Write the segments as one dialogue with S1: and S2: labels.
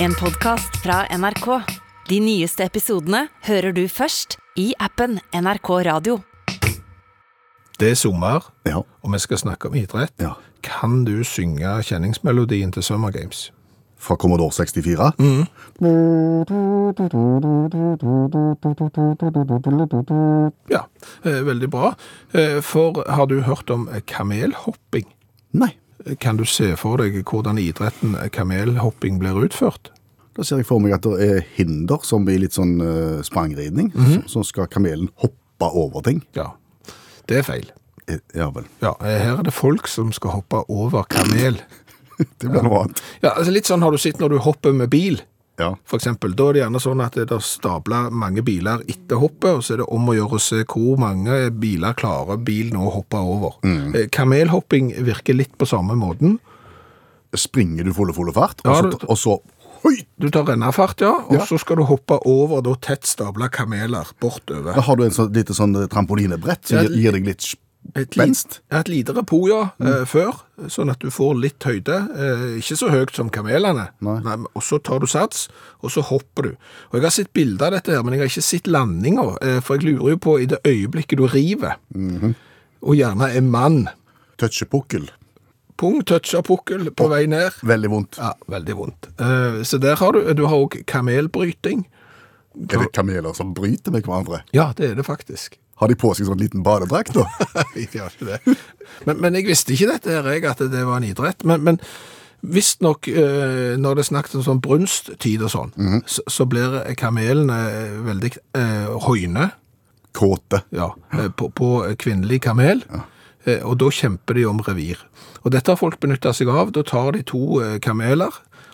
S1: En podcast fra NRK. De nyeste episodene hører du først i appen NRK Radio.
S2: Det er sommer,
S3: Ja.
S2: og vi skal snakke om idrett.
S3: Ja.
S2: Kan du synge kjenningsmelodien til Summer Games?
S3: Fra Commodore 64.
S2: Ja, eh, veldig bra. Eh, For har du hørt om kamelhopping?
S3: Nei,
S2: Eh, Kan du se for deg hvordan idretten eh, kamelhopping blir utført?
S3: da ser jeg for meg at det er hinder som blir litt sånn eh, sprangridning. så, så skal kamelen hoppe over ting.
S2: Ja, det er feil.
S3: Eh, ja vel.
S2: Ja, eh, her er det folk som skal hoppe over kamel.
S3: Det blir noe annet.
S2: Ja, altså litt sånn har du sett når du hopper med bil.
S3: Ja.
S2: For eksempel, da er det gjerne sånn at det er stablet mange biler etter hoppet, og så er det om å gjøre å se hvor mange biler klarer bilen å hoppe over. Eh, Kamelhopping virker litt på samme måten.
S3: Springer du fulle, fulle fart,
S2: Ja,
S3: og
S2: du-
S3: så, og så Oi!
S2: Du tar rennafart, ja, og
S3: Ja.
S2: så skal du hoppe over da tett stablet kameler bortover.
S3: Da har du en sånn, lite sånn eh, trampolinebrett som
S2: Ja,
S3: gir, gir deg litt
S2: Et, li
S3: spenst.
S2: et lite repo, ja, eh, før, sånn at du får litt høyde. Eh, ikke så høyt som kamelene.
S3: Nei.
S2: men- og så tar du sats, og så hopper du. Og jeg har sett bilder av dette her, men jeg har ikke sett landinger, eh, for jeg lurer jo på i det øyeblikket du river, og gjerne en mann,
S3: Toucher pukkel.
S2: pung toucher pukkel på vei ned.
S3: Veldig vondt.
S2: Ja, veldig vondt. Eh, så der har du, du har også kamelbryting.
S3: Er det kameler som bryter med hverandre?
S2: Ja, det er det faktisk.
S3: Har de på seg sånn liten badedrakt, da?
S2: Jeg gjør ikke det. Men, men jeg visste ikke dette her, jeg, at det var en idrett. Men, men visstnok eh, når det er snakket om sånn brunsttid og sånn, så, så blir kamelene eh, veldig eh, høyne
S3: Kåte.
S2: ja, eh, på, på kvinnelig kamel. Eh, Og da kjemper de om revir. Og dette har folk benytta seg av. Da tar de to eh, kameler,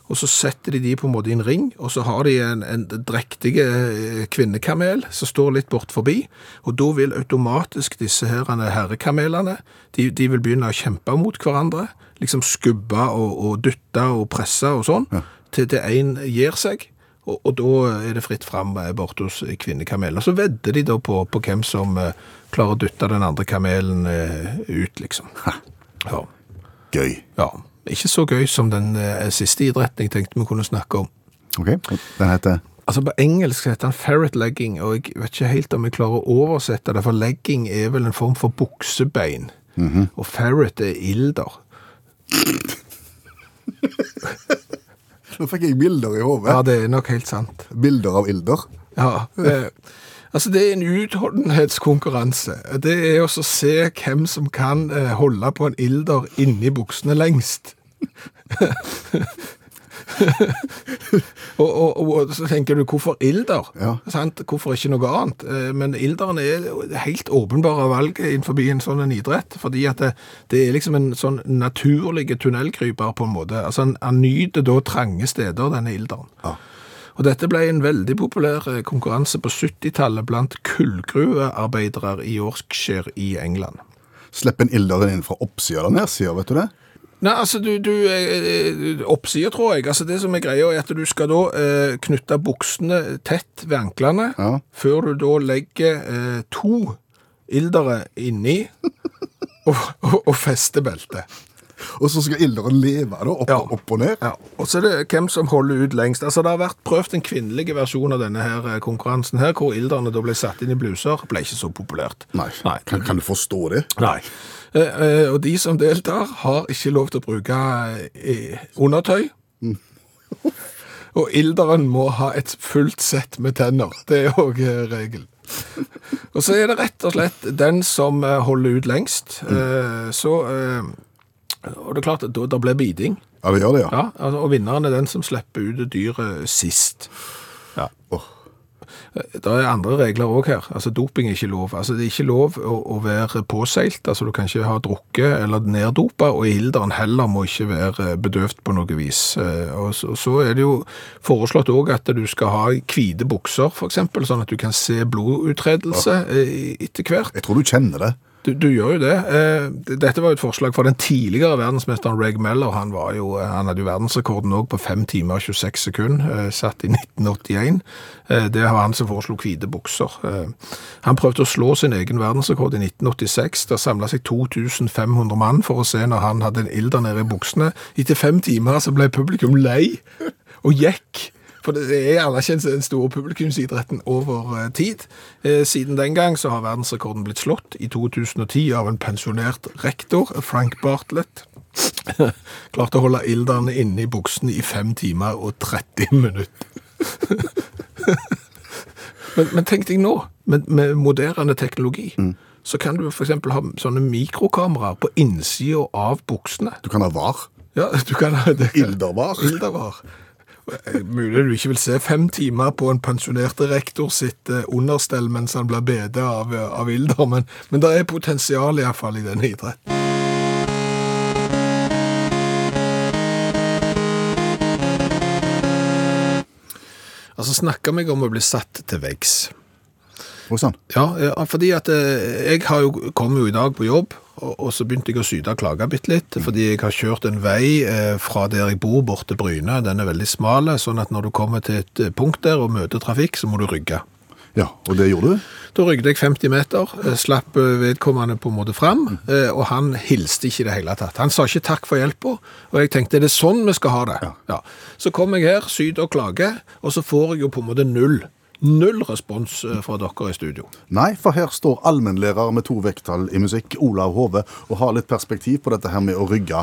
S2: og så setter de de på en måte i en ring, og så har de en, en drektig eh, kvinnekamel som står litt bort forbi, og da vil automatisk disse her herrekamelene de, de vil begynne å kjempe mot hverandre. Liksom skubbe og, og dytte og presse og sånn, til til én gir seg. Og, og da er det fritt fram eh, bort hos kvinnekamelen. Og så vedder de da på, på hvem som eh, klarer å dytte den andre kamelen eh, ut, liksom. Ja.
S3: Gøy.
S2: ja. Ikke så gøy som den eh, siste idretten jeg tenkte vi kunne snakke om.
S3: Ok, Den heter
S2: Altså På engelsk heter den ferret legging, og jeg vet ikke helt om jeg klarer å oversette det, for legging er vel en form for buksebein, og ferret er ilder.
S3: Nå fikk jeg bilder i hodet.
S2: Ja, det er nok helt sant.
S3: Bilder av ilder.
S2: Ja, eh, altså det er en utholdenhetskonkurranse. Det er også å se hvem som kan eh, holde på en ilder inni buksene lengst. og, og, og så tenker du, hvorfor ilder?
S3: Ja.
S2: Sant? Hvorfor ikke noe annet? Eh, Men ilderen er det helt åpenbare valg innenfor en sånn en idrett, fordi at det, det er liksom en sånn naturlig tunnelkryper på en måte. Altså han, han nyter da trange steder, denne ilderen. Og dette ble en veldig populær eh, konkurranse på 70-tallet blant kullgruvearbeidere i Yorkshire i England.
S3: Slipp en ilder inn fra oppsida eller nedsida, vet du det?
S2: Nei, altså du, du eh, oppsider, tror jeg. Altså det som er greia er at du skal da eh, knytte buksene tett ved anklene,
S3: Ja.
S2: før du da legger eh, to ildere inni og, og, og fester beltet.
S3: Og så skal ilderen leve da, opp,
S2: Ja.
S3: opp og ned.
S2: Ja, og så er det hvem som holder ut lengst. Altså, det har vært prøvd en kvinnelig versjon av denne her eh, konkurransen her, hvor ilderne da ble satt inn i bluser, ble ikke så populært.
S3: Nei, Kan, kan du forstå det?
S2: Nei. Eh, eh, og de som deltar har ikke lov til å bruke eh, undertøy. Og ilderen må ha et fullt sett med tenner. Det er òg regel. Og så er det rett og slett den som eh, holder ut lengst. Eh, så eh, Og det er klart, at da, da blir biting.
S3: Ja, det gjør det, ja.
S2: Ja, altså, og vinneren er den som slipper ut dyret sist.
S3: Åh,
S2: Det er andre regler òg her. Altså, doping er ikke lov. Altså, det er ikke lov å, å være påseilt. Altså, du kan ikke ha drukket eller neddopa, og ilderen heller må ikke være eh, bedøvd på noe vis. Eh, Og så, og så er det jo foreslått òg at du skal ha hvite bukser, f.eks., sånn at du kan se bloduttredelse eh, etter hvert.
S3: jeg tror du kjenner det.
S2: Du, du gjør jo det. Eh, d- Dette var jo et forslag fra den tidligere verdensmesteren Reg Meller. Han, var jo, eh, han hadde jo verdensrekorden òg på 5 timer og 26 sekunder, eh, satt i 1981. Eh, Det var han som foreslo hvite bukser. Eh, Han prøvde å slå sin egen verdensrekord i 1986. Det samla seg 2500 mann for å se når han hadde en ilder nede i buksene. Etter fem timer så ble publikum lei. og gikk. For det er gjerne ikke den store publikumsidretten over eh, tid. Eh, Siden den gang så har verdensrekorden blitt slått i 2010 av en pensjonert rektor, Frank Bartlett. Klarte å holde ildene inne i buksene i 5 timer og 30 minutter. men, men tenk deg nå, med, med moderne teknologi, så kan du f.eks. ha sånne mikrokameraer på innsida av buksene.
S3: Du kan ha var.
S2: Ja, du kan ha det.
S3: Ildervar.
S2: Ildervar. Mulig du ikke vil se fem timer på en pensjonert rektor sitt eh, understell mens han blir bedet av, eh, av ilder, men, men det er potensial iallfall i denne idretten. Altså, snakker meg om å bli satt til veggs.
S3: Og sånn.
S2: Ja, ja, fordi at eh, jeg har jo, kom jo i dag på jobb, og, og så begynte jeg å syde og klage bitte litt, fordi jeg har kjørt en vei eh, fra der jeg bor bort til Bryne, den er veldig smale, sånn at når du kommer til et eh, punkt der og møter trafikk, så må du rygge.
S3: Ja, og det gjorde du?
S2: Da rygget jeg 50 meter, eh, slapp eh, vedkommende på en måte fram, eh, og han hilste ikke i det hele tatt. Han sa ikke takk for hjelpen, og jeg tenkte, er det sånn vi skal ha det? Ja. Så kom jeg her, syd og klage, og så får jeg jo på en måte null. Null respons eh, fra dere i studio.
S3: Nei, for her står allmennlærer med to vekttall i musikk, Olav Hove, og har litt perspektiv på dette her med å rygge,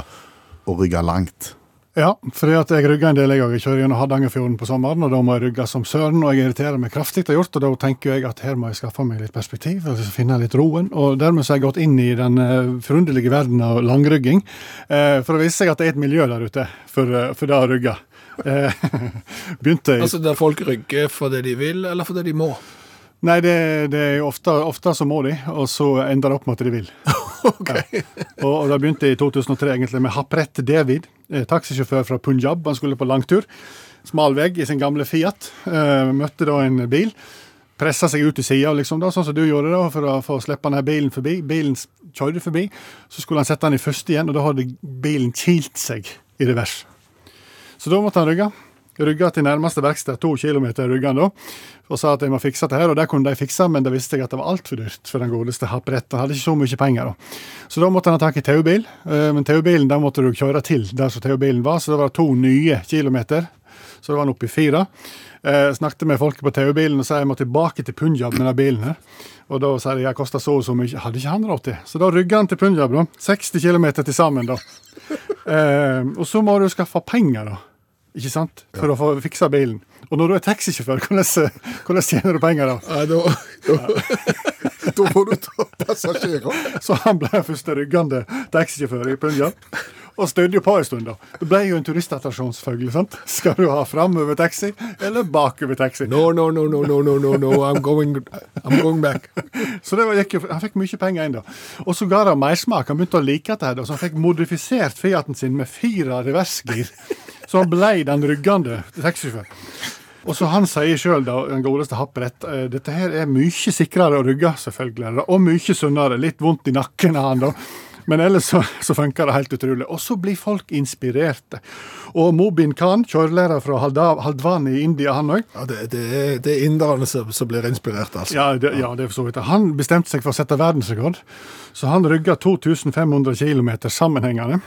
S3: og rygge langt.
S4: Ja, fordi at jeg rygger en del, jeg òg. Jeg kjører gjennom Hardangerfjorden på sommeren, og da må jeg rygge som søren, og jeg irriterer meg kraftig til gjort, og da tenker jeg at her må jeg skaffe meg litt perspektiv, og finne litt roen, og dermed så har jeg gått inn i den eh, forunderlige verden av langrygging, eh, for å vise seg at det er et miljø der ute for, eh, for det å rygge. Eh, begynte i
S2: Altså der folk rygger for det de vil, eller for det de må.
S4: Nei, det, det er jo ofte, ofte så må de, og så ender det opp med at de vil. ja. og, og det begynte i 2003 egentlig med Hapret David, eh, taxisjåfør fra Punjab. Han skulle på langtur. Smal vei i sin gamle Fiat. Eh, møtte da en bil. Pressa seg ut til sida, liksom, da, sånn som du gjorde, da, for å få slippe denne bilen forbi. Bilen s- kjørte forbi. Så skulle han sette den i første igjen, og da hadde bilen kilt seg i revers. Så da måtte han rygge. Rygge til nærmeste verksted, to kilometer rygga da, og sa at jeg må fikse det her. Og det kunne de fikse, men det visste jeg at det var altfor dyrt for den godeste Haprett. Han hadde ikke så mye penger da. Så da måtte han ha tak i taubil, eh, men taubilen da måtte du kjøre til der som taubilen var, så det var to nye kilometer. Så da var han oppe i fire. Eh, snakket med folket på taubilen og sa jeg må tilbake til Punjab med den bilen her. Og da sa de jeg kosta så og så mye. Hadde ikke han råd til. Så da rygga han til Punjab, da. 60 km til sammen, da. Eh, og så må du skaffe penger, da. Ikke sant? For å få fiksa bilen. Og når du er taxisjåfør, hvordan, hvordan tjener du penger da?
S2: Nei, da,
S3: Da får du ta passasjerer.
S4: Så han ble den første ryggende taxisjåfør i Punjab. Og stødde jo på en stund, da. Det ble jo en turistattraksjonsfølge. sant? Skal du ha framover taxi eller bakover taxi?
S2: No, no, no, no, no, no, no, no, I'm going, I'm going back.
S4: Så det var, gikk jo, Han fikk mye penger inn, da. Og så ga det han mersmak. Han begynte å like dette, her, da, så han fikk modifisert Fiaten sin med fire reversgir. Så han ble den ryggende taxisjåføren. Og så Han sier sjøl, den godeste Happrett, eh, dette her er mye sikrere å rygge, selvfølgelig, er det, og mye sunnere. Litt vondt i nakken av han, da. Men ellers så, så funker det helt utrolig. Og så blir folk inspirerte. Og Mobin Khan, kjørelærer fra Halda- Haldwani i India, han òg,
S2: Ja, det, det, er, det er inderne som, som blir inspirert, altså.
S4: ja, det, ja, det er for så vidt. det. Han bestemte seg for å sette verdensrekord, så han rygga 2500 km sammenhengende.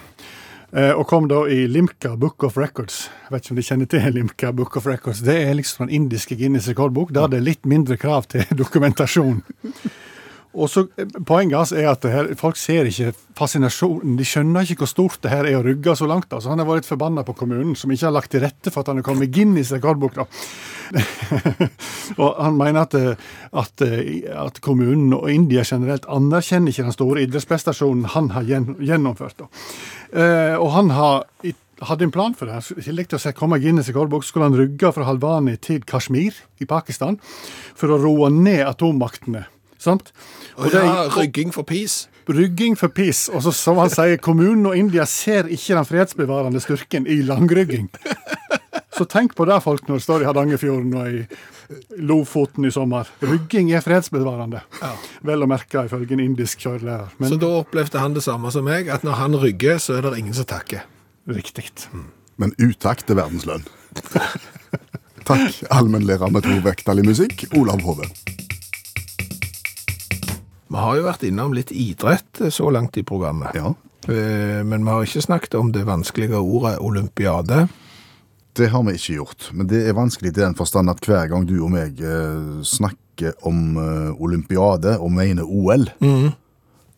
S4: eh, Og kom da i Limca Book of Records. Jeg vet ikke om de kjenner til Limca Book of Records. Det er liksom den indiske Guinness rekordbok, der det er litt mindre krav til dokumentasjon. Og så eh, Poenget hans er at det her, folk ser ikke fascinasjonen. De skjønner ikke hvor stort det her er å rygge så langt. Altså, han har vært forbanna på kommunen, som ikke har lagt til rette for at han har kommet i Guinness rekordbok. da. og han mener at, eh, at, eh, at kommunen og India generelt anerkjenner ikke den store idrettsprestasjonen han har gjen- gjennomført. Da. Eh, og han har, i- hadde en plan for det. her. I tillegg til å se- komme i Guinness rekordbok skulle han rygge fra Halvani til Kashmir i Pakistan for å roe ned atommaktene. Sant?
S2: Og det er rygging for peace.
S4: Rygging for peace. Og så, som han sier, kommunen og India ser ikke den fredsbevarende styrken i langrygging. Så tenk på det, folk, når det står i Hardangerfjorden og i eh, Lofoten i sommer. Rygging er fredsbevarende. Vel å merke ifølge en indisk kjørelærer. Men
S2: Så da opplevde han det samme som meg, at når han rygger, så er det ingen som takker.
S4: riktig.
S3: Men utakt til verdenslønn. Takk, allmennlærer med to vekttall i musikk, Olav Hove.
S2: Vi har jo vært innom litt idrett eh, så langt i programmet.
S3: Ja.
S2: Eh, Men vi har ikke snakket om det vanskelige ordet olympiade.
S3: Det har vi ikke gjort, men det er vanskelig i den forstand at hver gang du og meg eh, snakker om eh, olympiade og mener OL,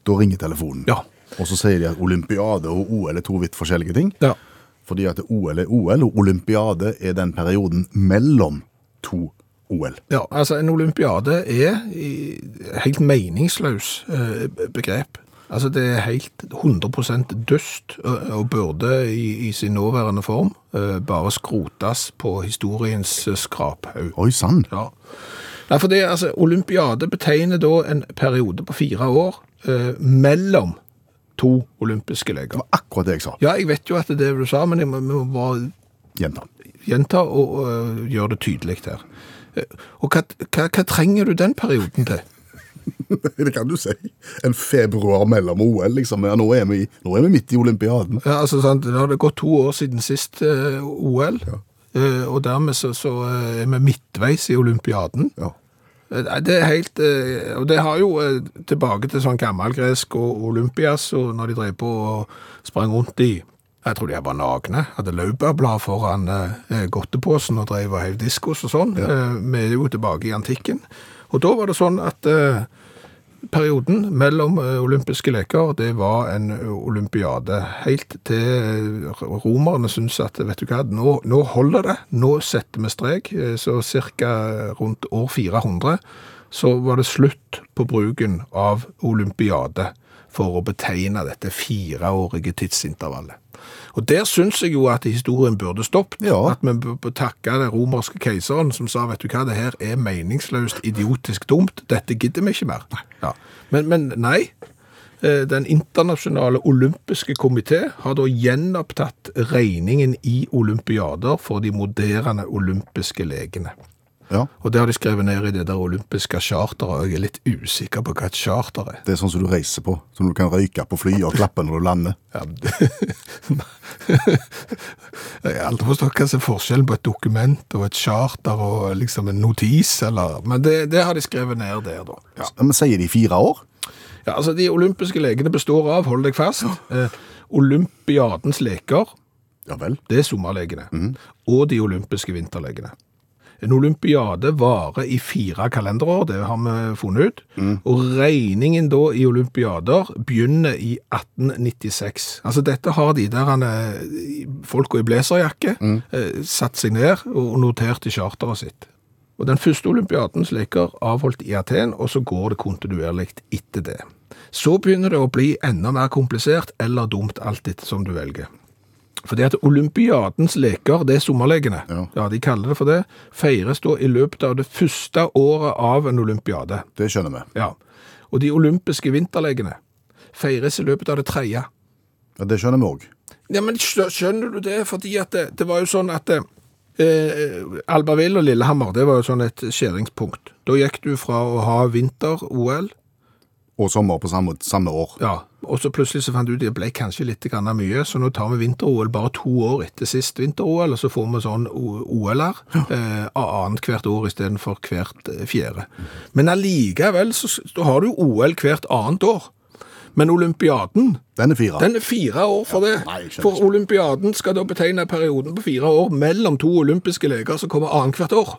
S3: da ringer telefonen.
S2: Mm. Ja.
S3: Og så sier de at olympiade og OL er to vidt forskjellige ting,
S2: Ja.
S3: fordi at OL er OL, og olympiade er den perioden mellom to OL.
S2: ja, altså en olympiade er i- helt meningsløs eh, begrep. Altså det er helt 100 dust og, og burde i, i sin nåværende form eh, bare skrotes på historiens eh, skraphaug.
S3: Oi, sann!
S2: Ja. Nei, for det, er, altså, Olympiade betegner da en periode på fire år eh, mellom to olympiske leker.
S3: Akkurat det jeg sa.
S2: Ja, jeg vet jo at det er det du sa, men jeg må, må bare
S3: Gjenta.
S2: gjenta og, og eh, gjøre det tydelig her. Eh, Og hva, hva, hva trenger du den perioden til?
S3: Det kan du si. En februar mellom OL, liksom. Ja, nå, er vi, i- nå er vi midt i olympiaden.
S2: Ja, altså, sant, Nå har det gått to år siden sist eh, OL, eh, og dermed så, så eh, er vi midtveis i olympiaden.
S3: Ja.
S2: Eh, Nei, det er helt eh, Og det har jo eh, tilbake til sånn gammelgresk og Olympias, og når de drev på og sprang rundt i Jeg tror de var nagne. Hadde laurbærblad foran eh, godteposen og drev og heiv diskos og sånn. Eh, Vi er jo tilbake i antikken. Og da var det sånn at eh, perioden mellom eh, olympiske leker, det var en eh, olympiade. Helt til eh, romerne syntes at vet du hva, nå, nå holder det, nå setter vi strek. Eh, Så ca. rundt år 400 så var det slutt på bruken av olympiade for å betegne dette fireårige tidsintervallet. Og Der syns jeg jo at historien burde stoppet.
S3: Ja.
S2: At vi bør bør takke den romerske keiseren som sa vet du hva, det her er meningsløst, idiotisk dumt, dette gidder vi ikke mer. Ja. Men, men nei. Eh, Den internasjonale olympiske komité har da gjenopptatt regningen i olympiader for de moderne olympiske legene.
S3: Ja,
S2: Og det har de skrevet ned i det der olympiske charteret, og jeg er litt usikker på hva et charter er.
S3: Det er sånn som du reiser på. Som du kan røyke på flyet og klappe når du lander.
S2: Ja, jeg har aldri forstått hva som er forskjellen på et dokument og et charter og liksom en notis, eller Men det, det har de skrevet ned der, da. Ja.
S3: Men sier de fire år?
S2: Ja, altså De olympiske lekene består av, hold deg fast, eh, olympiadens leker,
S3: Ja vel.
S2: det er sommerlegene, og de olympiske vinterlegene. En olympiade varer i fire kalenderår, det har vi funnet ut. Og regningen da i olympiader begynner i 1896. Altså dette har de der han, eh, folka i blazerjakke eh, satt seg ned og notert i charteret sitt. Og den første olympiadens leker avholdt i Aten, og så går det kontinuerlig etter det. Så begynner det å bli enda mer komplisert eller dumt, alt etter som du velger. Fordi at olympiadens leker, det er sommerlegene, ja. de kaller det for det, feires da i løpet av det første året av en olympiade.
S3: Det skjønner vi.
S2: Ja. Og de olympiske vinterlegene feires i løpet av det tredje.
S3: Ja, Det skjønner vi òg.
S2: Ja, men skjø- skjønner du det? Fordi at det, det var jo sånn at eh, eh, Albertville og Lillehammer, det var jo sånn et skjæringspunkt. Da gikk du fra å ha vinter-OL,
S3: Og sommer på samme, samme år.
S2: ja, og så plutselig så fant du ut det ble kanskje litt grann mye, så nå tar vi vinter-OL bare to år etter sist vinter-OL, og så får vi sånn O- OL-er eh, annet hvert år istedenfor hvert eh, fjerde. Men allikevel så, s- da har du jo OL hvert annet år. Men olympiaden,
S3: Den er fire.
S2: den er fire år for det.
S3: nei, jeg skjønner
S2: for
S3: ikke.
S2: olympiaden skal da betegne perioden på fire år mellom to olympiske leker som kommer annethvert år.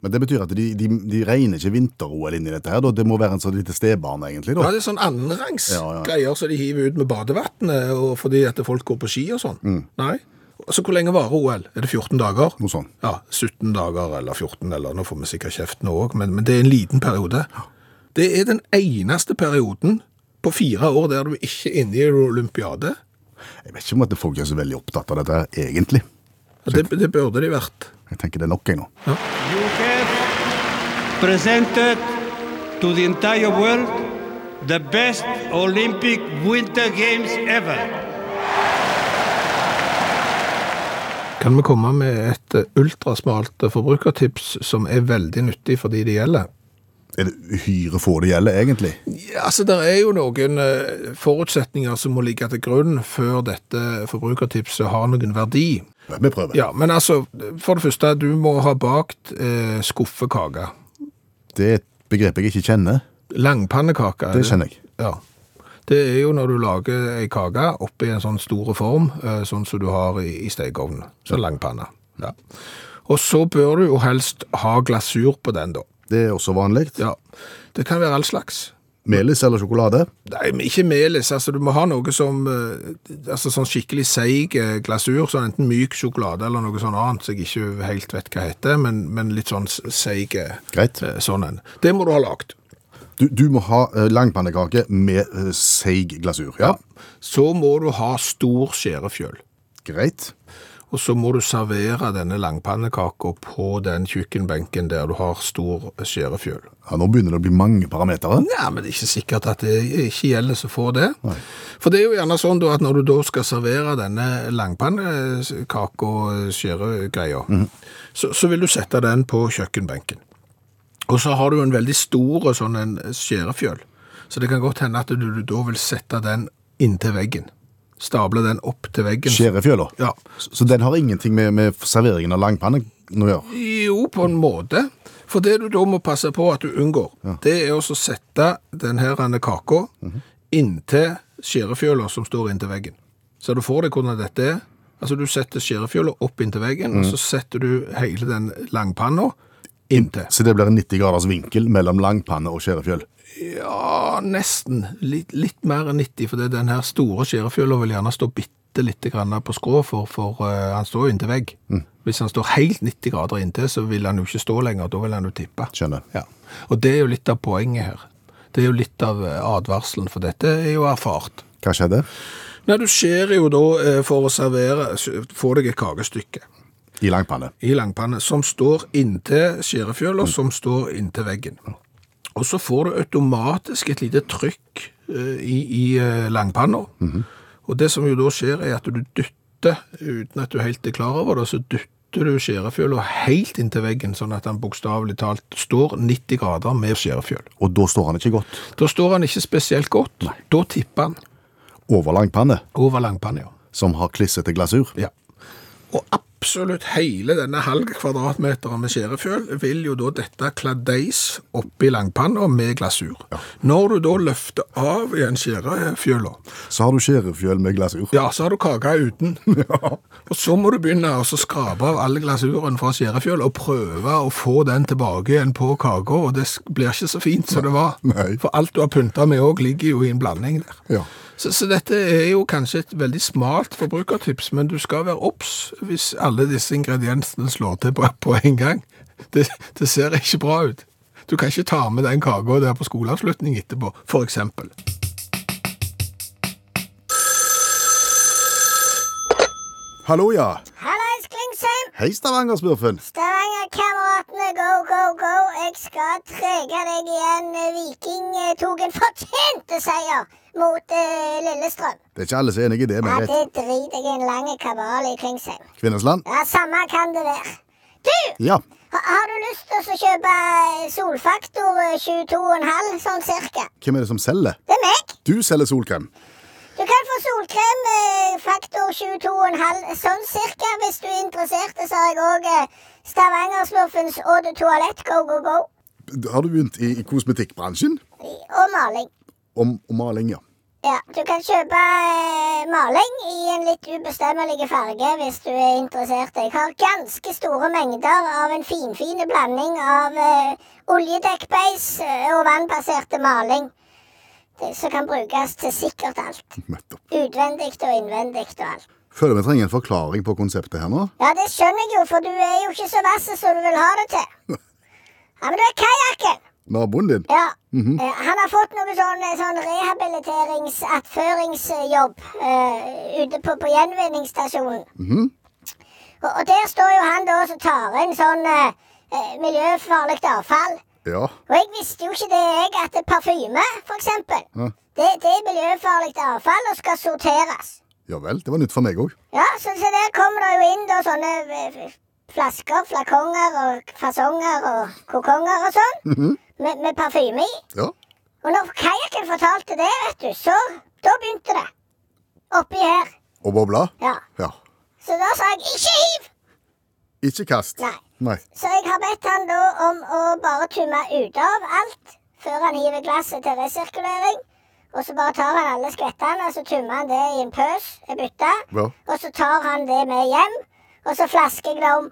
S3: Men det betyr at de, de, de regner ikke vinter-OL inn i dette her, da. Det må være en sånn lite stebarn, egentlig.
S2: Ja,
S3: da.
S2: det er sånn annenrangs
S3: Ja, ja.
S2: greier som de hiver ut med badevannet og fordi at folk går på ski og sånn. Nei. Altså, hvor lenge varer OL? Er det 14 dager?
S3: Mm. Noe sånn.
S2: Ja, 17 dager eller 14, eller nå får vi sikkert kjeft nå òg, men, men det er en liten periode. Det er den eneste perioden på fire år der du ikke er inne i en olympiade.
S3: Jeg vet ikke om at folk er så veldig opptatt av dette, her, egentlig.
S2: Det, det burde de vært.
S3: Jeg tenker det er nok, jeg nå.
S5: You have presented to the entire world the best Olympic Winter Games ever.
S2: Kan vi komme med et eh, ultrasmalt eh, forbrukertips som er veldig nyttig for de det gjelder?
S3: Er det uhyre få det gjelder, egentlig?
S2: Ja, altså, Det er jo noen eh, forutsetninger som må ligge til grunn før dette forbrukertipset har noen verdi.
S3: Vi prøver.
S2: Ja, Men altså, for det første, du må ha bakt eh, skuffekake.
S3: Det er et begrep jeg ikke kjenner.
S2: Langpannekake. er
S3: Det kjenner jeg.
S2: Ja. Det er jo når du lager ei kake oppi en sånn stor form, eh, sånn som du har i, i stekeovnen. Så langpanne. Ja. Og så bør du jo helst ha glasur på den, da.
S3: Det er også vanlig.
S2: Ja. Det kan være all slags.
S3: Melis eller sjokolade?
S2: Nei, men ikke melis. Altså, du må ha noe som eh, altså, sånn skikkelig seig eh, glasur. Sånn enten myk sjokolade eller noe sånn annet som jeg ikke helt vet hva heter, men, men litt sånn s- seig eh,
S3: Greit.
S2: eh, sånn en. Det må du ha lagd.
S3: Du, du må ha eh, langpannekake med eh, seig glasur. Ja,
S2: Så må du ha stor skjærefjøl.
S3: greit.
S2: Og så må du servere denne langpannekaka på den kjøkkenbenken der du har stor eh, skjærefjøl.
S3: Ja, nå begynner det å bli mange parametere.
S2: Nei, sånn? men det er ikke sikkert at det ikke gjelder som får det. For det er jo gjerne sånn da at når du da skal servere denne langpannekake og skjæregreia, så, så vil du sette den på kjøkkenbenken. Og så har du en veldig stor sånn en skjærefjøl, så det kan godt hende at du, du da vil sette den inntil veggen. Stable den opp til veggen.
S3: Skjærefjøla.
S2: Ja.
S3: Så, så den har ingenting med, med serveringen av langpannekake å gjøre.
S2: Jo, på en måte. For det du da må passe på at du unngår, det er også å sette denne kaka inntil skjærefjøla som står inntil veggen. Så du får det hvordan dette er. Altså, du setter skjærefjøla opp inntil veggen, og så setter du hele den langpanna inntil.
S3: Så det blir en 90 graders vinkel mellom langpanne og skjærefjøl.
S2: Ja, nesten. Litt, litt mer enn 90, for det er den her store skjærefjøla vil gjerne stå bitte lite grann på skrå, for, for eh, han står jo inntil vegg. Hvis han står helt 90 grader inntil, så vil han jo ikke stå lenger, da vil han jo tippe.
S3: Skjønner.
S2: Ja, og det er jo litt av poenget her. Det er jo litt av eh, advarselen, for dette er jo erfart.
S3: Hva skjedde?
S2: Nei, du skjer jo da eh, for å servere, s- få deg et kakestykke
S3: I langpanne.
S2: i langpanne, som står inntil skjærefjøla, som står inntil veggen. Og så får du automatisk et lite trykk eh, i, i eh, langpanna. Og det som jo da skjer er at du dytter, uten at du helt er klar over det, så dytter du skjærefjøla helt inntil veggen, sånn at den bokstavelig talt står 90 grader med skjærefjøl.
S3: Og da står han ikke godt.
S2: Da står han ikke spesielt godt. Da tipper han
S3: Over langpanne,
S2: over langpanna.
S3: som har klissete glasur.
S2: Ja. Og absolutt hele denne halve kvadratmeteren med skjærefjøl vil jo da dette kladeis oppi langpanna med glasur. Når du da løfter av igjen skjærefjøla,
S3: Så har du skjærefjøl med glasur.
S2: ja, så har du kaka uten. Og så må du begynne å så skrape av all glasuren fra skjærefjøl og prøve å få den tilbake igjen på kaka, og det s- blir ikke så fint som det var.
S3: Nei.
S2: For alt du har pynta med òg, ligger jo i en blanding der.
S3: Ja.
S2: Så, så dette er jo kanskje et veldig smalt forbrukertips, men du skal være obs hvis alle disse ingrediensene slår til på, på en gang. Det, det ser ikke bra ut. Du kan ikke ta med den kaka der på skoleavslutning etterpå, for eksempel.
S3: Hallo, ja.
S6: Hallais, Klingsheim!
S3: Hei, Stavanger-smurfen.
S6: Stavanger-kameratene, go, go, go! Jeg skal trege deg igjen. Viking eh, tok en fortjente seier mot eh, Lillestrøm.
S3: Det er ikke alle som er enig i det,
S6: Ja,
S3: men
S6: det
S3: greit.
S6: driter jeg i en lang kabal i Klingsheim.
S3: Kvinnesland?
S6: Ja, samme kan det være. Du!
S3: Ja.
S6: ha- Har du lyst til å kjøpe eh, solfaktor eh, 22,5, sånn cirka?
S3: Hvem er det som selger?
S6: Det er meg.
S3: Du selger solkrem.
S6: Du kan få solkrem eh, faktor 22,5 sånn cirka hvis du er interessert. Så har jeg òg eh, Stavanger-smurfens Eau de Toilette Go Go Go
S3: Har du begynt i, i kosmetikkbransjen?
S6: og maling.
S3: Om, om maling, ja.
S6: Ja, Du kan kjøpe eh, maling i en litt ubestemmelig farge hvis du er interessert. Jeg har ganske store mengder av en finfin blanding av eh, oljedekkbeis eh, og vannbaserte maling. Det som kan brukes til sikkert alt.
S3: Nettopp.
S6: Utvendig og innvendig og alt.
S3: Føler vi trenger en forklaring på konseptet her nå.
S6: Ja, det skjønner jeg jo, for du er jo ikke så vass som du vil ha det til. Ja, Men du er kajakken.
S3: Naboen din?
S6: Ja. Eh, Han har fått noe sånn, sånn rehabiliterings-attføringsjobb eh, ute på, på gjenvinningsstasjonen. og, og der står jo han da som tar inn sånn eh, eh, miljøfarlig avfall.
S3: Ja.
S6: Og jeg visste jo ikke det, jeg, at parfyme, for eksempel,
S3: Ja.
S6: det, det er miljøfarlig avfall og skal sorteres.
S3: Ja vel, det var nytt for meg òg.
S6: Ja, så, så der kommer det jo inn da sånne eh, f- flasker, flakonger og fasonger og kokonger og sånn. med, med parfyme i.
S3: Ja.
S6: Og når kajakken fortalte det, vet du, så da begynte det. Oppi her.
S3: Og bobla?
S6: Ja.
S3: Ja.
S6: Så da sa jeg 'ikke hiv'!
S3: Ikke kast.
S6: Nei.
S3: Nei.
S6: Så jeg har bedt han da om å bare tumme ut av alt før han hiver glasset til resirkulering. Og så bare tar han alle skvettene, og så tummer han det i en pøs, en bytte.
S3: Ja.
S6: Og så tar han det med hjem, og så flasker jeg det om.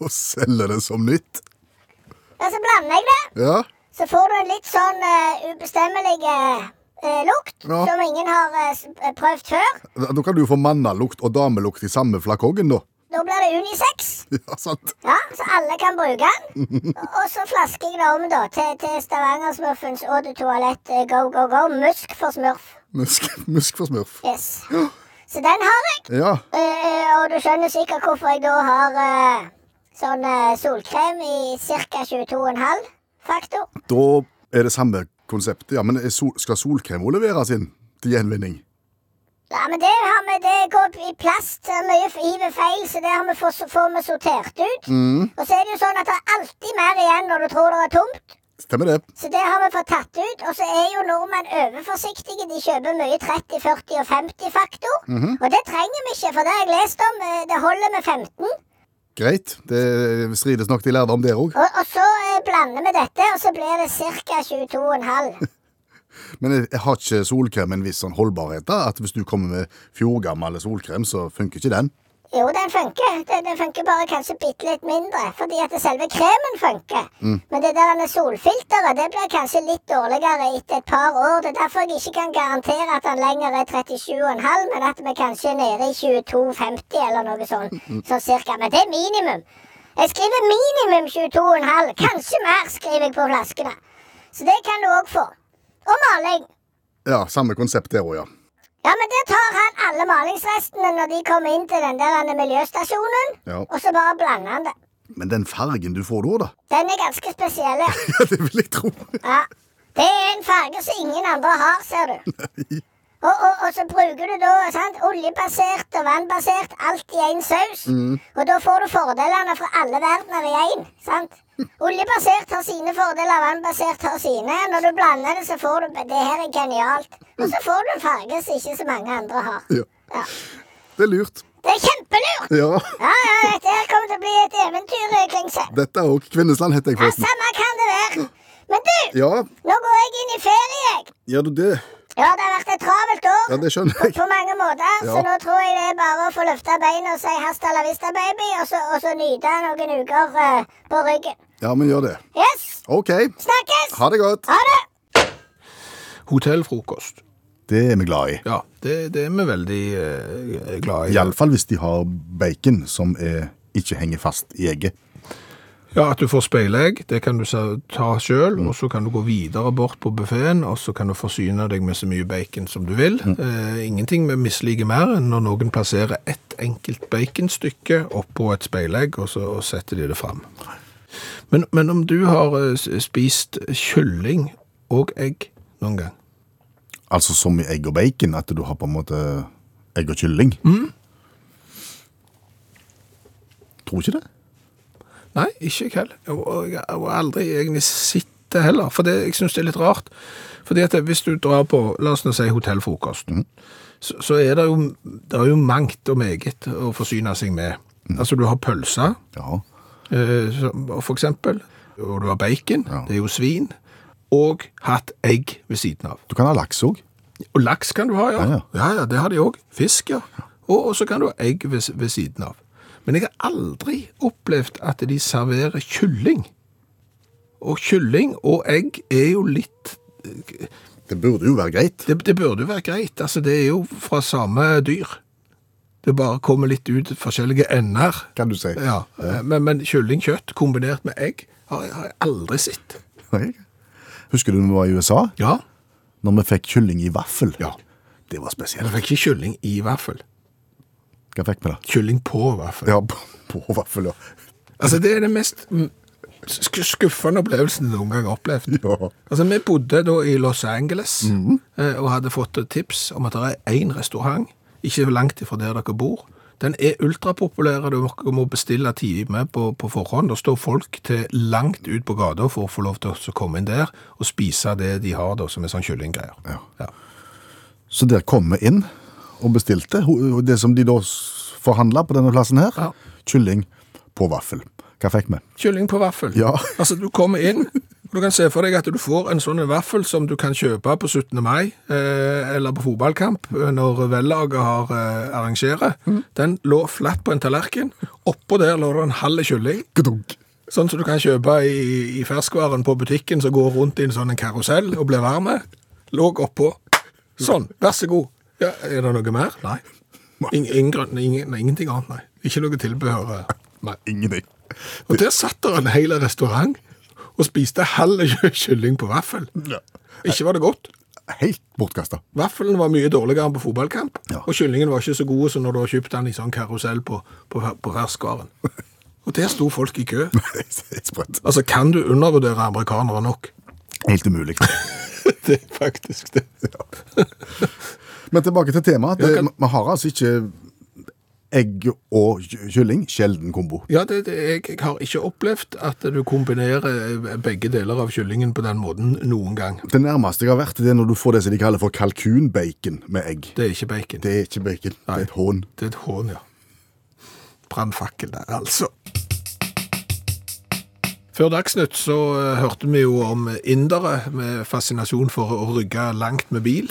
S3: og selger det som nytt.
S6: Og så Altså, blander jeg det.
S3: Ja.
S6: Så får du en litt sånn eh, ubestemmelig eh, lukt
S3: Ja.
S6: som ingen har eh, s- eh, prøvd før.
S3: Da da kan du jo få mannalukt og damelukt i samme flakongen, da.
S6: Da blir det unisex.
S3: Ja, sant?
S6: Ja, så alle kan bruke den. Og så flasker jeg det om da til, til Stavanger-smurfens eau de toalett eh, go, go, go. Musk for smurf.
S3: Musk, musk for smurf.
S6: Yes. Så den har jeg.
S3: Ja.
S6: Eh, eh, og du skjønner sikkert hvorfor jeg da har eh, sånn eh, solkrem i ca. 22,5 faktor.
S3: Da er det samme konseptet, ja. Men er sol, skal solkrem også leveres inn til gjenvinning?
S6: Ja, men det har vi, det går i plast. Det er mye f- hiver feil, så det har vi fått, får vi sortert ut. Og så er det jo sånn at det er alltid mer igjen når du tror det er tomt.
S3: Stemmer det.
S6: Så det har vi fått tatt ut. Og så er jo nordmenn overforsiktige. De kjøper mye 30, 40 og 50 faktor. Og det trenger vi ikke, for det har jeg lest om. eh, Det holder med 15.
S3: Greit. Det strides nok de lærde om der òg.
S6: Og, og så eh, blander vi dette, og så blir det ca. 22,5.
S3: Men jeg- jeg har ikke solkrem en viss sånn holdbarhet? da? At Hvis du kommer med fjordgammel solkrem, så funker ikke den?
S6: Jo, den funker. Den, den funker bare kanskje bitte litt mindre. Fordi at det selve kremen funker. Men det der med solfilteret det blir kanskje litt dårligere etter et par år. Det er derfor jeg ikke kan garantere at den lenger er 37,5, men at vi kanskje er nede i 22,50 eller noe sånn. Sånn cirka. Men det er minimum. Jeg skriver minimum 22,5. Kanskje mer, skriver jeg på flaskene. Så det kan du òg få. Og maling.
S3: Ja, samme konsept der òg, ja.
S6: Ja, men der tar han alle malingsrestene når de kommer inn til den der denne miljøstasjonen,
S3: Ja.
S6: og så bare blander han det.
S3: Men den fargen du får da, da?
S6: Den er ganske spesiell. ja.
S3: Ja, det vil jeg tro.
S6: Ja. Det er en farge som ingen andre har, ser du. Og, og, og så bruker du da sant, oljebasert og vannbasert, alt i én saus. Og da får du fordelene fra alle verdener i én. sant? Oljebasert har sine fordeler, vannbasert har sine. Når du blander det, så får du Det her er genialt. Og så får du en farge som ikke så mange andre har.
S3: Ja.
S6: Ja.
S3: Det er lurt.
S6: Det er kjempelurt!
S3: Ja.
S6: Ja, ja, dette her kommer til å bli et eventyr, eh, Klingse.
S3: Dette òg. Kvinnesland heter jeg
S6: Ja,
S3: forresten.
S6: samme kan det være. Men du,
S3: Ja,
S6: nå går jeg inn i ferie, jeg.
S3: gjør du det?
S6: Ja, det har vært et travelt
S3: Ja,
S6: år
S3: det skjønner
S6: på,
S3: jeg.
S6: på mange måter, så
S3: Ja.
S6: nå tror jeg det er bare å få løfta beina og si hasta la vista, baby, og så, og så nyte noen uker eh, på ryggen.
S3: Ja, men gjør det.
S6: Yes!
S3: OK.
S6: Snakkes!
S3: Ha det godt.
S6: Ha det!
S2: Hotellfrokost.
S3: Det er vi glad i.
S2: Ja, det, det er vi veldig eh, glad i.
S3: Iallfall hvis de har bacon som er, ikke henger fast i egget.
S2: Ja, at du får speilegg, det kan du se- ta selv, og så kan du gå videre bort på buffeten, og så kan du forsyne deg med så mye bacon som du vil. Eh, ingenting vi misliker mer enn når noen plasserer ett enkelt baconstykke oppå et speilegg, og så og setter de det fram. Men, men om du har eh, s- spist kylling og egg noen gang?
S3: Altså som i egg og bacon, at du har på en måte egg og kylling.
S2: Mm.
S3: Tror ikke det.
S2: Nei, ikke jeg heller. Og- Og jeg har aldri egentlig sett det heller. For det, jeg syns det er litt rart. Fordi at hvis du drar på, la oss nå si hotellfrokost, så, så er det jo, det er jo mangt og meget å forsyne seg med. Altså du har pølser,
S3: Ja.
S2: eh, som- og for eksempel, og du har bacon,
S3: Ja.
S2: det er jo svin, og hatt egg ved siden av.
S3: Du kan ha laks òg.
S2: Og laks kan du ha, ja.
S3: Ja, ja.
S2: Ja, ja, det har de òg. Fisk, ja. Og, og så kan du ha egg ved, s- ved siden av. Men jeg har aldri opplevd at de serverer kylling. Og kylling og egg er jo litt
S3: Det burde jo være greit.
S2: Det, det burde jo være greit. Altså, det er jo fra samme dyr. Det bare kommer litt ut forskjellige ender.
S3: Kan du si.
S2: Ja. eh, Men, men kyllingkjøtt kombinert med egg har jeg, har jeg aldri sett.
S3: Nei. Husker du når vi var i USA?
S2: Ja.
S3: Når vi fikk kylling i vaffel?
S2: Ja.
S3: Det var spesielt.
S2: Jeg fikk ikke kylling i vaffel.
S3: Hva fikk vi da?
S2: Kylling på vaffel.
S3: Ja, på, på vaffel, ja.
S2: Altså, det er den mest mm, sk- skuffende opplevelsen jeg noen gang har opplevd.
S3: Ja.
S2: Altså, vi bodde da i Los Angeles, eh, og hadde fått et tips om at det er én restaurant, ikke langt ifra der dere bor. Den er ultrapopulær, og dere må bestille time på, på forhånd. Det står folk til langt ut på gata for å få lov til å komme inn der og spise det de har, da, som er sånn kyllinggreier.
S3: Ja.
S2: Ja.
S3: Så der kom vi inn og bestilte ho- det som de da s- forhandla på denne plassen her.
S2: Ja.
S3: Kylling på vaffel. Hva fikk vi?
S2: Kylling på vaffel.
S3: Ja.
S2: Altså, du kommer inn, Du kan se for deg at du får en sånn vaffel som du kan kjøpe på 17. mai, eh, eller på fotballkamp, eh, når vellaget har eh, arrangeret. Den lå flatt på en tallerken. Oppå der lå det en halv kylling.
S3: Gdunk.
S2: Sånn som du kan kjøpe i, i ferskvaren på butikken som går rundt i en sånn en karusell og blir varm. Lå oppå. Sånn, vær så god. Ja, er det noe mer? Nei. Ing, ingen, grunn- ingen, nei, ingenting annet, nei. Ikke noe tilbehør. eh.
S3: Nei, ingenting.
S2: Og der satt der en hel restaurant og spiste halv kylling på vaffel.
S3: Ja.
S2: Ikke var det godt.
S3: Helt bortkasta.
S2: Vaffelen var mye dårligere enn på fotballkamp,
S3: Ja.
S2: og kyllingen var ikke så god som når du har kjøpt den i sånn karusell på, på, på ferskvaren. Og der sto folk i kø.
S3: Helt sprøtt.
S2: Altså, kan du undervurdere amerikanere nok?
S3: Helt umulig.
S2: Det er faktisk det.
S3: Men tilbake til temaet.
S2: Ja,
S3: Det-
S2: kan-
S3: Vi har altså ikke egg og ky- kylling. Sjelden kombo.
S2: Ja, det, det, jeg, jeg har ikke opplevd at du kombinerer eh, begge deler av kyllingen på den måten noen gang.
S3: Det nærmeste jeg har vært, det er når du får det som de kaller for kalkunbacon med egg.
S2: Det er ikke bacon.
S3: Det er ikke bacon, det er et hån.
S2: Det er et hån, ja. Brannfakkel der, altså. Før Dagsnytt så eh, hørte vi jo om indere med fascinasjon for å rygge langt med bil.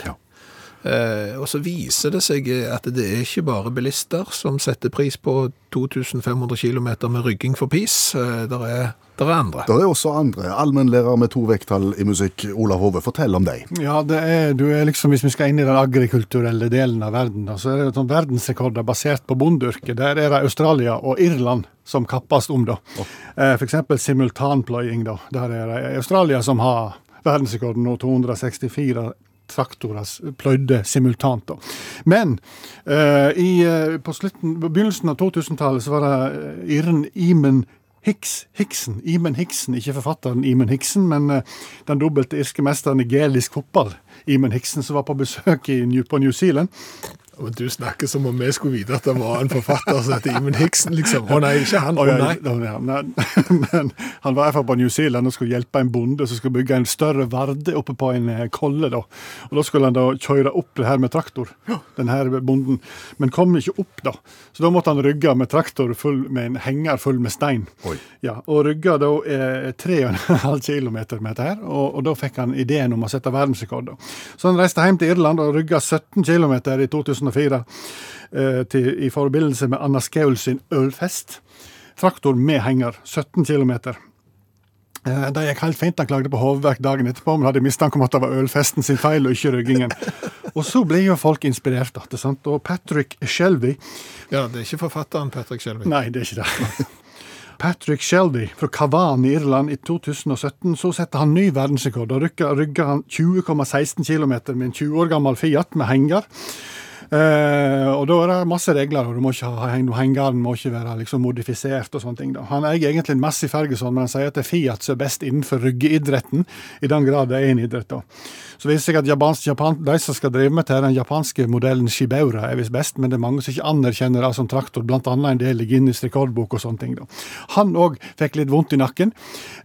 S2: Eh, og så viser det seg eh, at det er ikke bare bilister som setter pris på 2500 km med rygging for pis. Eh, der, er, der er andre.
S3: Det er også andre. Allmennlærer med to vekttall i musikk, Olav Hove, fortell om deg.
S4: Ja, det er, du er liksom, Hvis vi skal inn i den agrikulturelle delen av verden, da, så er det sånn verdensrekorder basert på bondeyrket. Der er det Australia og Irland som kappes om, da. Eh, F.eks. simultanpløying. da. Der er det Australia som har verdensrekorden nå, 264 traktorer s- pløyde simultant. da. Men eh, i, eh, på slutten, på begynnelsen av 2000-tallet så var det eh, Irren Imen Hicks, Hicksen, Imen Hicksen, ikke forfatteren Imen Hicksen, men eh, den dobbelte irske mesteren i gelisk fotball, Imen Hicksen, som var på besøk i New, på New Zealand.
S2: Men du snakker som om vi skulle vite at det var en forfatter som heter Imen Hiksen, liksom. Å nei, ikke han.
S4: Og
S2: Å
S4: jeg-
S2: nei.
S4: da- ja, nei. Men han var iallfall på New Zealand og skulle hjelpe en bonde som skulle bygge en større varde oppe på en eh, kolle. da. Og Da skulle han da kjøre opp det her med traktor, den her bonden. Men kom ikke opp, da. Så da måtte han rygge med traktor full med en henger full med stein.
S3: Oi.
S4: Ja, og rygga da eh, 3,5 km med dette her, og, og da fikk han ideen om å sette verdensrekord. da. Så han reiste hjem til Irland og rygga 17 km i 2004 eh, til, i forbindelse med Anna Skaul sin ølfest. Traktor med henger, 17 km. Eh, Det gikk helt fint. Han klagde på hovedverk dagen etterpå, men hadde mistanke om at det var ølfesten sin feil og ikke ryggingen. Og så blir jo folk inspirert. da, ikke sant? Og Patrick Shelby
S2: Ja, det er ikke forfatteren Patrick Shelby.
S4: Nei, det er ikke det. Patrick Shelby fra Kavan i Irland i 2017 så setter han ny verdensrekord. Da rykka- rygger han 20,16 km med en 20 år gammel Fiat med henger. Eh, og da er det masse regler, og du må ikke ha heng- hengeren må ikke være liksom, modifisert og sånne ting. Da. Han eier egentlig en masse i Ferguson, men han sier at det er Fiat som er best innenfor ryggeidretten, i den grad det er en idrett. da. Så viser det seg at japansk, Japan, de som skal drive med til den japanske modellen Shibaura, er visst best, men det er mange som ikke anerkjenner det som traktor, blant annet en del i Guinness rekordbok og sånne ting. da. Han òg fikk litt vondt i nakken,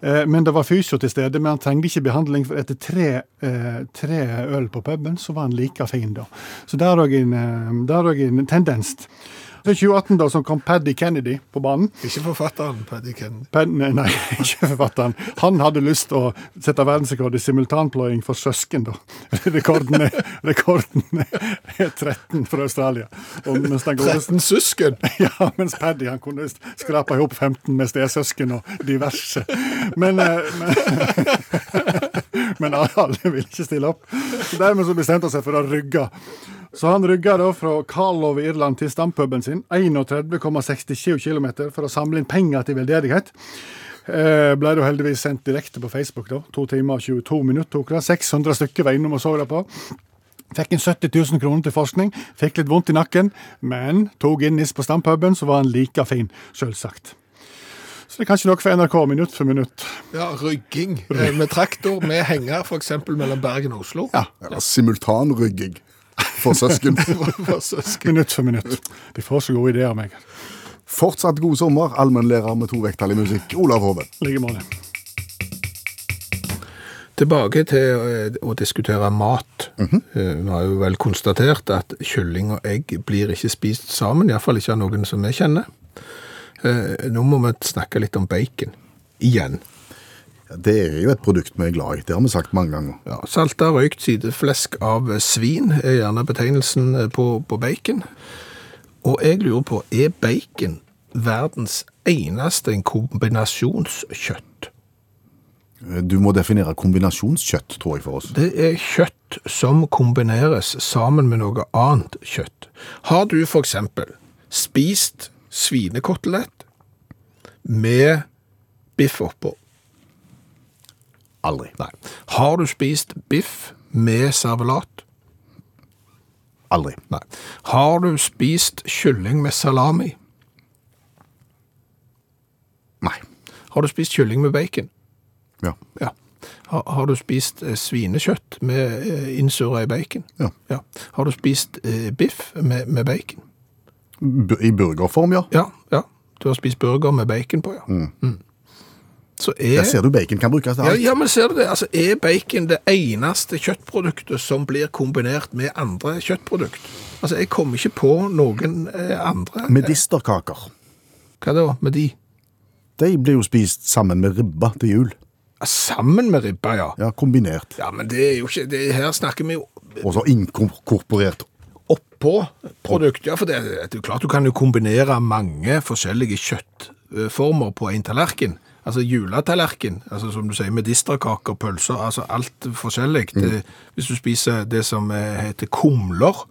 S4: eh, men det var fysio til stede, men han trengte ikke behandling, for etter tre, eh, tre øl på puben, så var han like fin, da. Så der òg en, eh, der er også en tendens. Så i 2018 da, som kom Paddy Kennedy på banen.
S2: Ikke forfatteren Patrick Kennedy.
S4: Pen, nei, nei, ikke forfatteren. Han hadde lyst til å sette verdensrekord i simultanpløying for søsken, da. Rekorden er, rekorden er 13 fra Australia. Og mens den godeste
S2: 13 søsken!
S4: ja, mens Paddy han kunne skrape ihop 15 med stesøsken og diverse. Men, eh, men, men alle ville ikke stille opp. Så dermed så bestemte han seg for å rygge. Så han rygga da fra Karlov i Irland til stampuben sin, 31,67 km, for å samle inn penger til veldedighet. Eh, ble da heldigvis sendt direkte på Facebook. da, To timer og 22 minutter tok det. 600 stykker var innom og så det på. Fikk inn 70 000 kroner til forskning, fikk litt vondt i nakken, men tok Guinness på stampuben, så var han like fin, selvsagt. Så det er kanskje nok for NRK minutt for minutt.
S2: Ja, rygging. Eh, Med traktor, med henger, f.eks. mellom Bergen og Oslo.
S3: Ja, Simultanrygging for søsken.
S2: For søsken.
S4: Minutt for minutt. De får så gode ideer av meg.
S3: Fortsatt god sommer, allmennlærer med to vekttall i musikk, Olav Hove.
S4: I like måte.
S2: Tilbake til eh, å diskutere mat. Eh, Vi har jo vel konstatert at kylling og egg blir ikke spist sammen, iallfall ikke av noen som vi kjenner. Eh, Nå må vi snakke litt om bacon. Igjen.
S3: Det er jo et produkt vi er glad i. Det har vi sagt mange ganger.
S2: Ja, Salta røykt sideflesk av svin er gjerne betegnelsen eh, på, på bacon. Og jeg lurer på, er bacon verdens eneste en kombinasjonskjøtt?
S3: Du må definere kombinasjonskjøtt, tror jeg, for oss.
S2: Det er kjøtt som kombineres sammen med noe annet kjøtt. Har du for eksempel spist svinekotelett med biff oppå?
S3: Aldri.
S2: Nei. Har du spist biff med servelat?
S3: Aldri.
S2: Nei. Har du spist kylling med salami?
S3: Nei.
S2: Har du spist kylling med bacon?
S3: Ja.
S2: Ja. Har, har du spist eh, svinekjøtt med eh, innsurra i bacon?
S3: Ja.
S2: Har du spist eh, biff med, med bacon?
S3: Bu- I burgerform, ja.
S2: Ja, ja. Du har spist burger med bacon på, ja. Mm. Så er
S3: Der ser du bacon kan brukes til
S2: ja,
S3: alt.
S2: ja, men ser du det? Altså, er bacon det eneste kjøttproduktet som blir kombinert med andre kjøttprodukt? Altså, jeg kommer ikke på noen eh, andre.
S3: Medisterkaker.
S2: Hva da med de?
S3: De blir jo spist sammen med ribba til jul.
S2: Ja, sammen med ribba, ja.
S3: Ja, kombinert.
S2: Ja, men det er jo ikke det, Her snakker vi jo
S3: Og så inkorporert.
S2: oppå produkt. Ja, for det, det er jo klart du kan jo kombinere mange forskjellige kjøttformer på en tallerken. Altså juletallerken, altså som du sier, medisterkaker, pølser, altså alt forskjellig. Det- Hvis du spiser det som eh, heter kumler,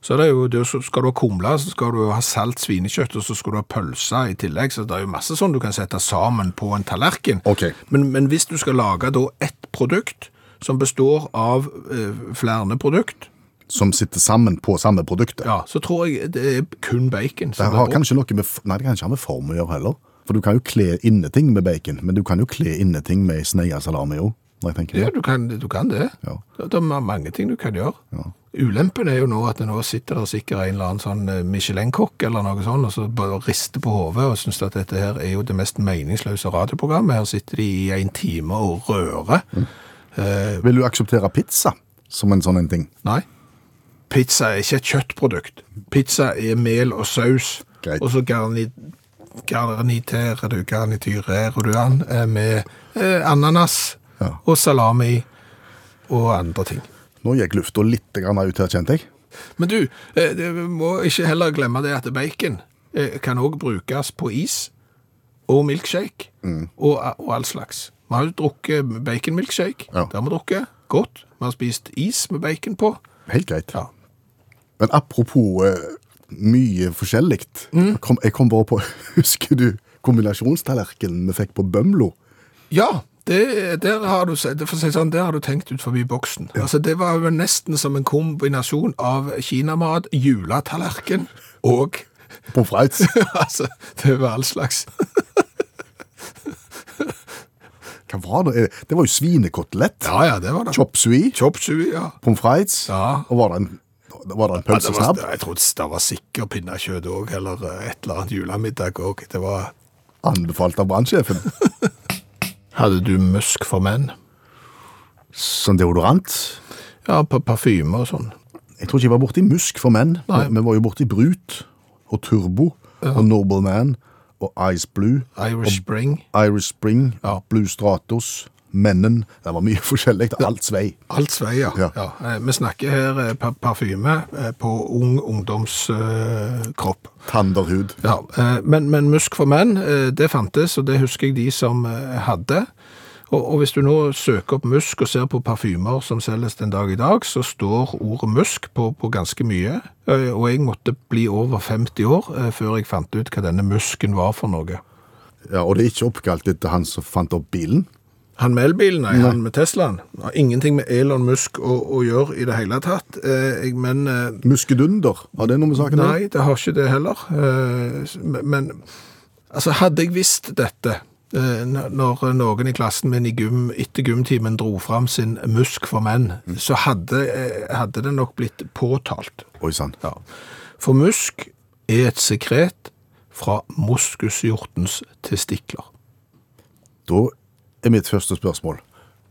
S2: så er det jo, det, er jo- så skal du ha kumler, så skal du ha salt svinekjøtt, og så skal du ha pølser i tillegg, så det er jo masse sånn du kan sette sammen på en tallerken.
S3: Ok.
S2: Men, men hvis du skal lage da ett produkt, som består av eh, flere produkt,
S3: Som sitter sammen på samme produktet.
S2: ja, så tror jeg det er kun bacon.
S3: Det
S2: som
S3: har
S2: blir brukt.
S3: kanskje noe med, f- nei, det kan ikke ha med form å gjøre heller. For du kan jo kle inneting med bacon, men du kan jo kle inneting med sneia salami òg. Når jeg tenker
S2: Ja,
S3: det.
S2: du kan, du kan det.
S3: Ja.
S2: Det er ma- mange ting du kan gjøre. Ulempen er jo nå at det nå sitter der sikkert en eller annen sånn eh, Michelin-kokk eller noe sånt, og så bare rister på hodet og synes at dette her er jo det mest meningsløse radioprogrammet. Her sitter de i en time og rører.
S3: Vil du akseptere pizza som en sånn en ting?
S2: Nei. Pizza er ikke et kjøttprodukt. Pizza er mel og saus.
S3: Greit.
S2: Og så garni, garniterer du, garniturerer du den eh, med eh, ananas
S3: Ja.
S2: og salami og andre ting.
S3: Nå gikk lufta litt grann ut her, kjente jeg.
S2: Men du, eh, det- vi må ikke heller glemme det at bacon eh, kan også brukes på is og milkshake
S3: Mm.
S2: og, og all slags. Vi har jo drukket baconmilkshake.
S3: Ja.
S2: Det har vi drukket godt. Vi har spist is med bacon på.
S3: Helt greit.
S2: Ja.
S3: Men apropos eh, mye forskjellig.
S2: Mm.
S3: Jeg, kom- jeg kom bare på Husker du kombinasjonstallerkenen vi fikk på Bømlo?
S2: Ja, det, der, har du, se- det får si sånn, der har du tenkt ut forbi boksen. Altså, det var jo nesten som en kombinasjon av kinamat, juletallerken og
S3: På Freitz?
S2: altså, Det var all slags.
S3: Hva var det? Eh, Det var jo svinekotelett.
S2: Ja, ja, det var det.
S3: Chop sui.
S2: Chop sui, ja.
S3: Pommes frites.
S2: Ja.
S3: Og var det en, var det en
S2: Ja, det var,
S3: pølsesnabb?
S2: jeg trodde det var sikker pinnekjøtt òg, eller eh, et eller annet julemiddag òg. Det var
S3: Anbefalt av brannsjefen.
S2: Hadde du musk for menn?
S3: Som deodorant.
S2: Ja, på parfyme og sånn.
S3: Jeg tror ikke jeg var borti Musk for menn.
S2: Nei.
S3: Vi var jo borti Brut og Turbo og Noble Man og Ice Blue.
S2: Irish Spring.
S3: Iris Spring,
S2: Ja.
S3: Blue Stratos, Mennen. Det var mye forskjellig. Det er alt svei.
S2: Alt svei, ja.
S3: Ja.
S2: ja. eh, Vi snakker her eh, pa- parfyme eh, på ung eh, ungdomskropp.
S3: Tanderhud.
S2: Ja, eh, men, men Musk for menn, eh, det fantes, og det husker jeg de som eh, hadde. Og, og hvis du nå søker opp musk og ser på parfymer som selges den dag i dag, så står ordet musk på, på ganske mye. Eh, Og jeg måtte bli over 50 år eh, før jeg fant ut hva denne musken var for noe.
S3: Ja, og det er ikke oppkalt etter han som fant opp bilen.
S2: Han med elbilen, nei, han med Teslaen. Har ingenting med Elon Musk å, å gjøre i det hele tatt. Eh, jeg- Men eh,
S3: Muskedunder, har det noe med saken å gjøre?
S2: Nei, det har ikke det heller. Eh, s- men- Men altså, hadde jeg visst dette eh, n- når noen i klassen min i gym, etter gymtimen dro fram sin musk for menn, så hadde, eh, hadde det nok blitt påtalt.
S3: Oi sann.
S2: Ja. For musk er et sekret fra moskushjortens testikler.
S3: Da er mitt første spørsmål.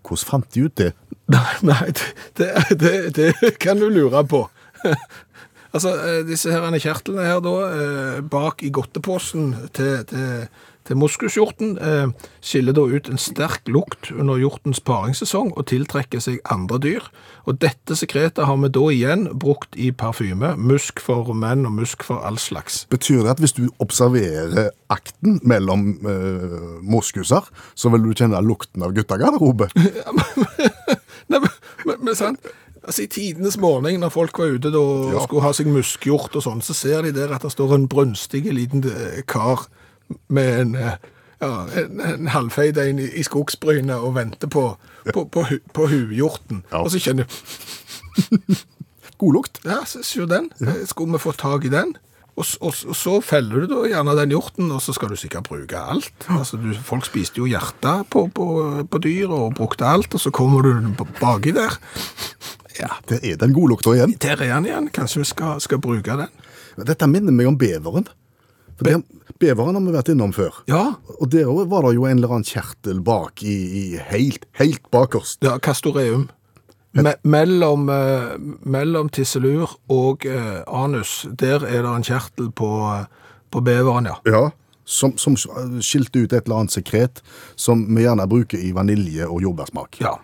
S3: Hvordan fant de ut det?
S2: Nei, nei det, det, det kan du lure på. altså, eh, disse herrene kjertlene her da, eh, bak i godteposen til, til, til moskushjorten eh, skiller da ut en sterk lukt under hjortens paringssesong og tiltrekker seg andre dyr. Og dette sekretet har vi da igjen brukt i parfyme. Musk for menn og musk for all slags.
S3: Betyr det at hvis du observerer akten mellom eh, moskuser, så vil du kjenne lukten av guttegarderobe?
S2: Nei, men, men, men sant? Altså, I tidenes morgen når folk var ute da, og
S3: Ja.
S2: skulle ha seg muskgjort og sånn, så ser de der at det står en brunstig liten eh, kar med en, eh, ja, en, en halvfeid en i, i skogsbrynet og venter på, på, på, hu- på huvhjorten.
S3: Ja.
S2: Og så kjenner du
S3: God lukt.
S2: Ja, se se den. Eh, Skulle vi få tak i den? Og, s- og, s- og så feller du da gjerne den hjorten, og så skal du sikkert bruke alt. Altså, du, folk spiste jo hjertet på, på, på dyr og brukte alt, og så kommer du b- baki der. Ja,
S3: Der er den godlukta igjen.
S2: der er han igjen. Kanskje vi skal, skal bruke den?
S3: Dette minner meg om beveren. For det, beveren har vi vært innom før.
S2: Ja.
S3: Og der også var det jo en eller annen kjertel bak i, i helt, helt bakerst.
S2: ja Castoreum. Me mellom, eh, mellom tisselur og eh, anus, der er det en kjertel på, på beveren, ja.
S3: Ja. Som, som skilte ut et eller annet sekret som vi gjerne bruker i vanilje- og jordbærsmak.
S2: Ja.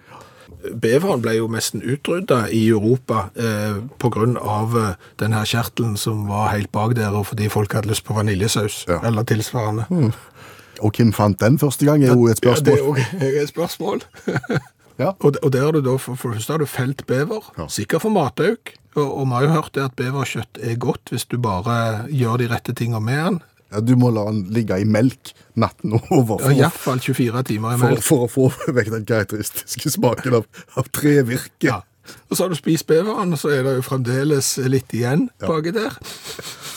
S2: Beveren ble jo nesten utrydda i Europa eh, pga. Eh, den her kjertelen som var helt bak der, og fordi folk hadde lyst på vaniljesaus
S3: Ja.
S2: eller tilsvarende.
S3: Og hvem fant den første gang, er jo et
S2: Ja, det
S3: spørsmål.
S2: er òg et spørsmål.
S3: Ja.
S2: Og, og der har du da, for, for det første har du felt bever,
S3: Ja.
S2: sikkert for matauk. Og, og vi har jo hørt det at beverkjøtt er godt hvis du bare gjør de rette tinga med den.
S3: Ja, du må la den ligge i melk natten over for, å-
S2: Iallfall 24 timer i
S3: for,
S2: melk.
S3: for å få vekk den karakteristiske smaken av, av trevirke.
S2: Ja. Og så har du spist beveren, og så er det jo fremdeles litt igjen baki der.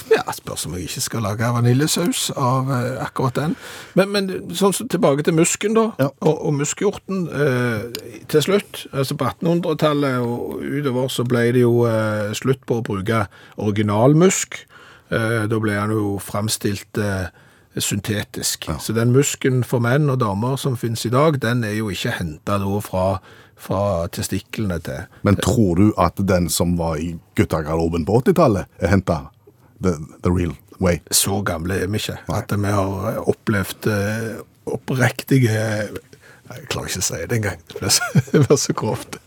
S2: Ja, spørs om jeg ikke skal lage vaniljesaus av eh, akkurat den. Men, men sånn som tilbake til musken, da,
S3: Ja.
S2: og, og muskhjorten eh, til slutt. Altså på 1800-tallet og utover så ble det jo eh, slutt på å bruke originalmusk. Eh, da ble han jo fremstilt eh, syntetisk. Så den musken for menn og damer som finnes i dag, den er jo ikke hentet da fra, fra testiklene til
S3: Men tror du at den som var i guttegarderoben på 80-tallet, er henta the, the real way?
S2: så gamle er vi ikke. At vi har opplevd eh, oppriktige Jeg klarer ikke å si det engang. Det blir så- det blir så grovt.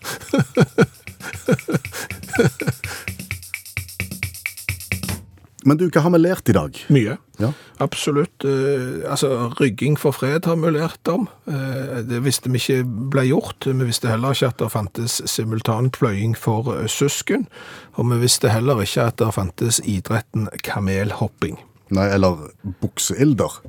S3: Men du, hva har vi lært i dag?
S2: Mye.
S3: Ja.
S2: Absolutt. eh, altså, Rygging for fred har vi lært om. Eh, det visste vi ikke ble gjort. Vi visste heller ikke at det fantes simultan pløying for eh, søsken. Og vi visste heller ikke at det fantes idretten kamelhopping.
S3: Nei, eller bukseilder.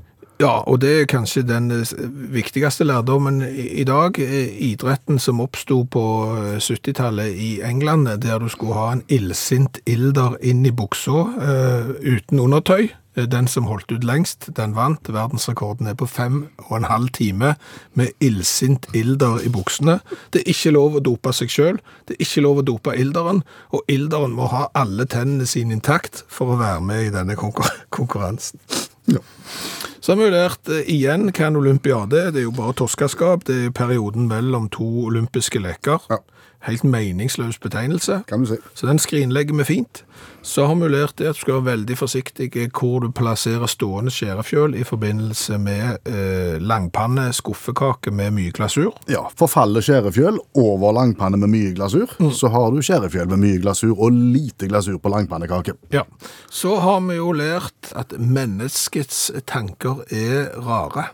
S2: Ja, og det er kanskje den eh, viktigste lærdommen i i dag. eh, Idretten som oppsto på eh, 70-tallet i England, eh, der du skulle ha en illsint ilder inn i buksa eh, uten undertøy. Eh, Den som holdt ut lengst, den vant. Verdensrekorden er på fem og en halv time med illsint ilder i buksene. Det er ikke lov å dope seg sjøl, det er ikke lov å dope ilderen, og ilderen må ha alle tennene sine intakt for å være med i denne konkur konkurransen. Så har vi jo lært eh, igjen hva en olympiade er. Det er jo bare torskeskap. Det er perioden mellom to olympiske leker.
S3: Ja.
S2: Helt meningsløs betegnelse.
S3: Kan du si.
S2: Så den skrinlegger vi fint. Så har vi jo lært det at du skal være veldig forsiktig i hvor du plasserer stående skjærefjøl i forbindelse med eh, langpanne skuffekake med mye glasur.
S3: Ja, Forfaller skjærefjøl over langpanne med mye glasur, så har du skjærefjøl med mye glasur og lite glasur på langpannekake.
S2: Ja. Så har vi jo lært at menneskets tanker er rare.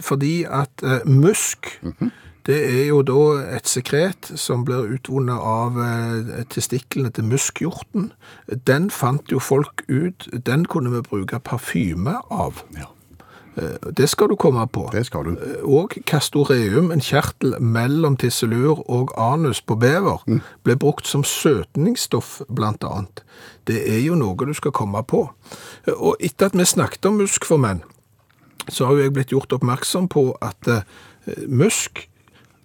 S2: Fordi at eh, musk,
S3: Mhm.
S2: det er jo da et sekret som blir utvunnet av eh, testiklene til muskhjorten. Den fant jo folk ut, den kunne vi bruke parfyme av.
S3: Ja.
S2: Eh, Det skal du komme på.
S3: Det skal du.
S2: Og castoreum, en kjertel mellom tisselur og anus på bever, ble brukt som søtningsstoff, blant annet. Det er jo noe du skal komme på. Og etter at vi snakket om musk for menn, så har jo jeg blitt gjort oppmerksom på at eh, musk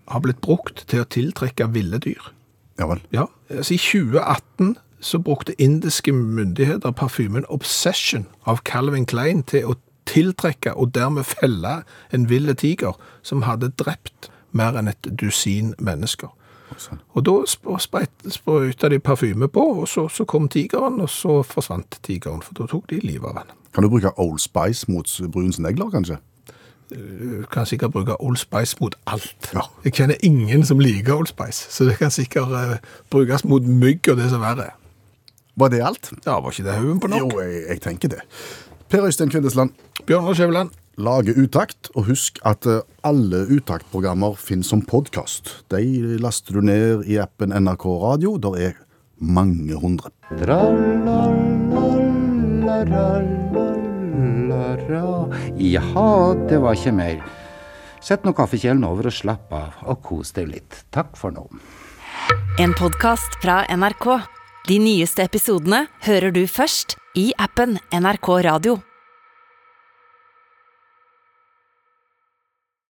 S2: har blitt brukt til å tiltrekke ville dyr.
S3: Ja vel.
S2: Ja, altså I 2018 så brukte indiske myndigheter parfymen Obsession av Calvin Klein til å tiltrekke og dermed felle en ville tiger som hadde drept mer enn et dusin mennesker. Og da sp- spreit- sprøyta de parfyme på, og så, så kom tigeren, og så forsvant tigeren, for da tok de livet av han.
S3: Kan du bruke Old Spice mot brunsnegler, kanskje?
S2: Du kan sikkert bruke Old Spice mot alt. Jeg kjenner ingen som liker Old Spice, så det kan sikkert eh, brukes mot mygg og det som verre er.
S3: Var det alt?
S2: Ja, var ikke det haugen på nok?
S3: Jo, jeg, jeg tenker det. Per Øystein Kvindesland,
S2: Bjørnar Skjæveland,
S3: lage utakt, og husk at eh, alle utaktprogrammer finnes som podkast. De laster du ned i appen NRK Radio. Der er mange hundre.
S7: Tra-la-la-la-la-la. Jaha, det var ikke mer. Sett nå kaffekjelen over og slapp av, og kos deg litt. Takk for nå.
S1: En podkast fra NRK. De nyeste episodene hører du først i appen NRK Radio.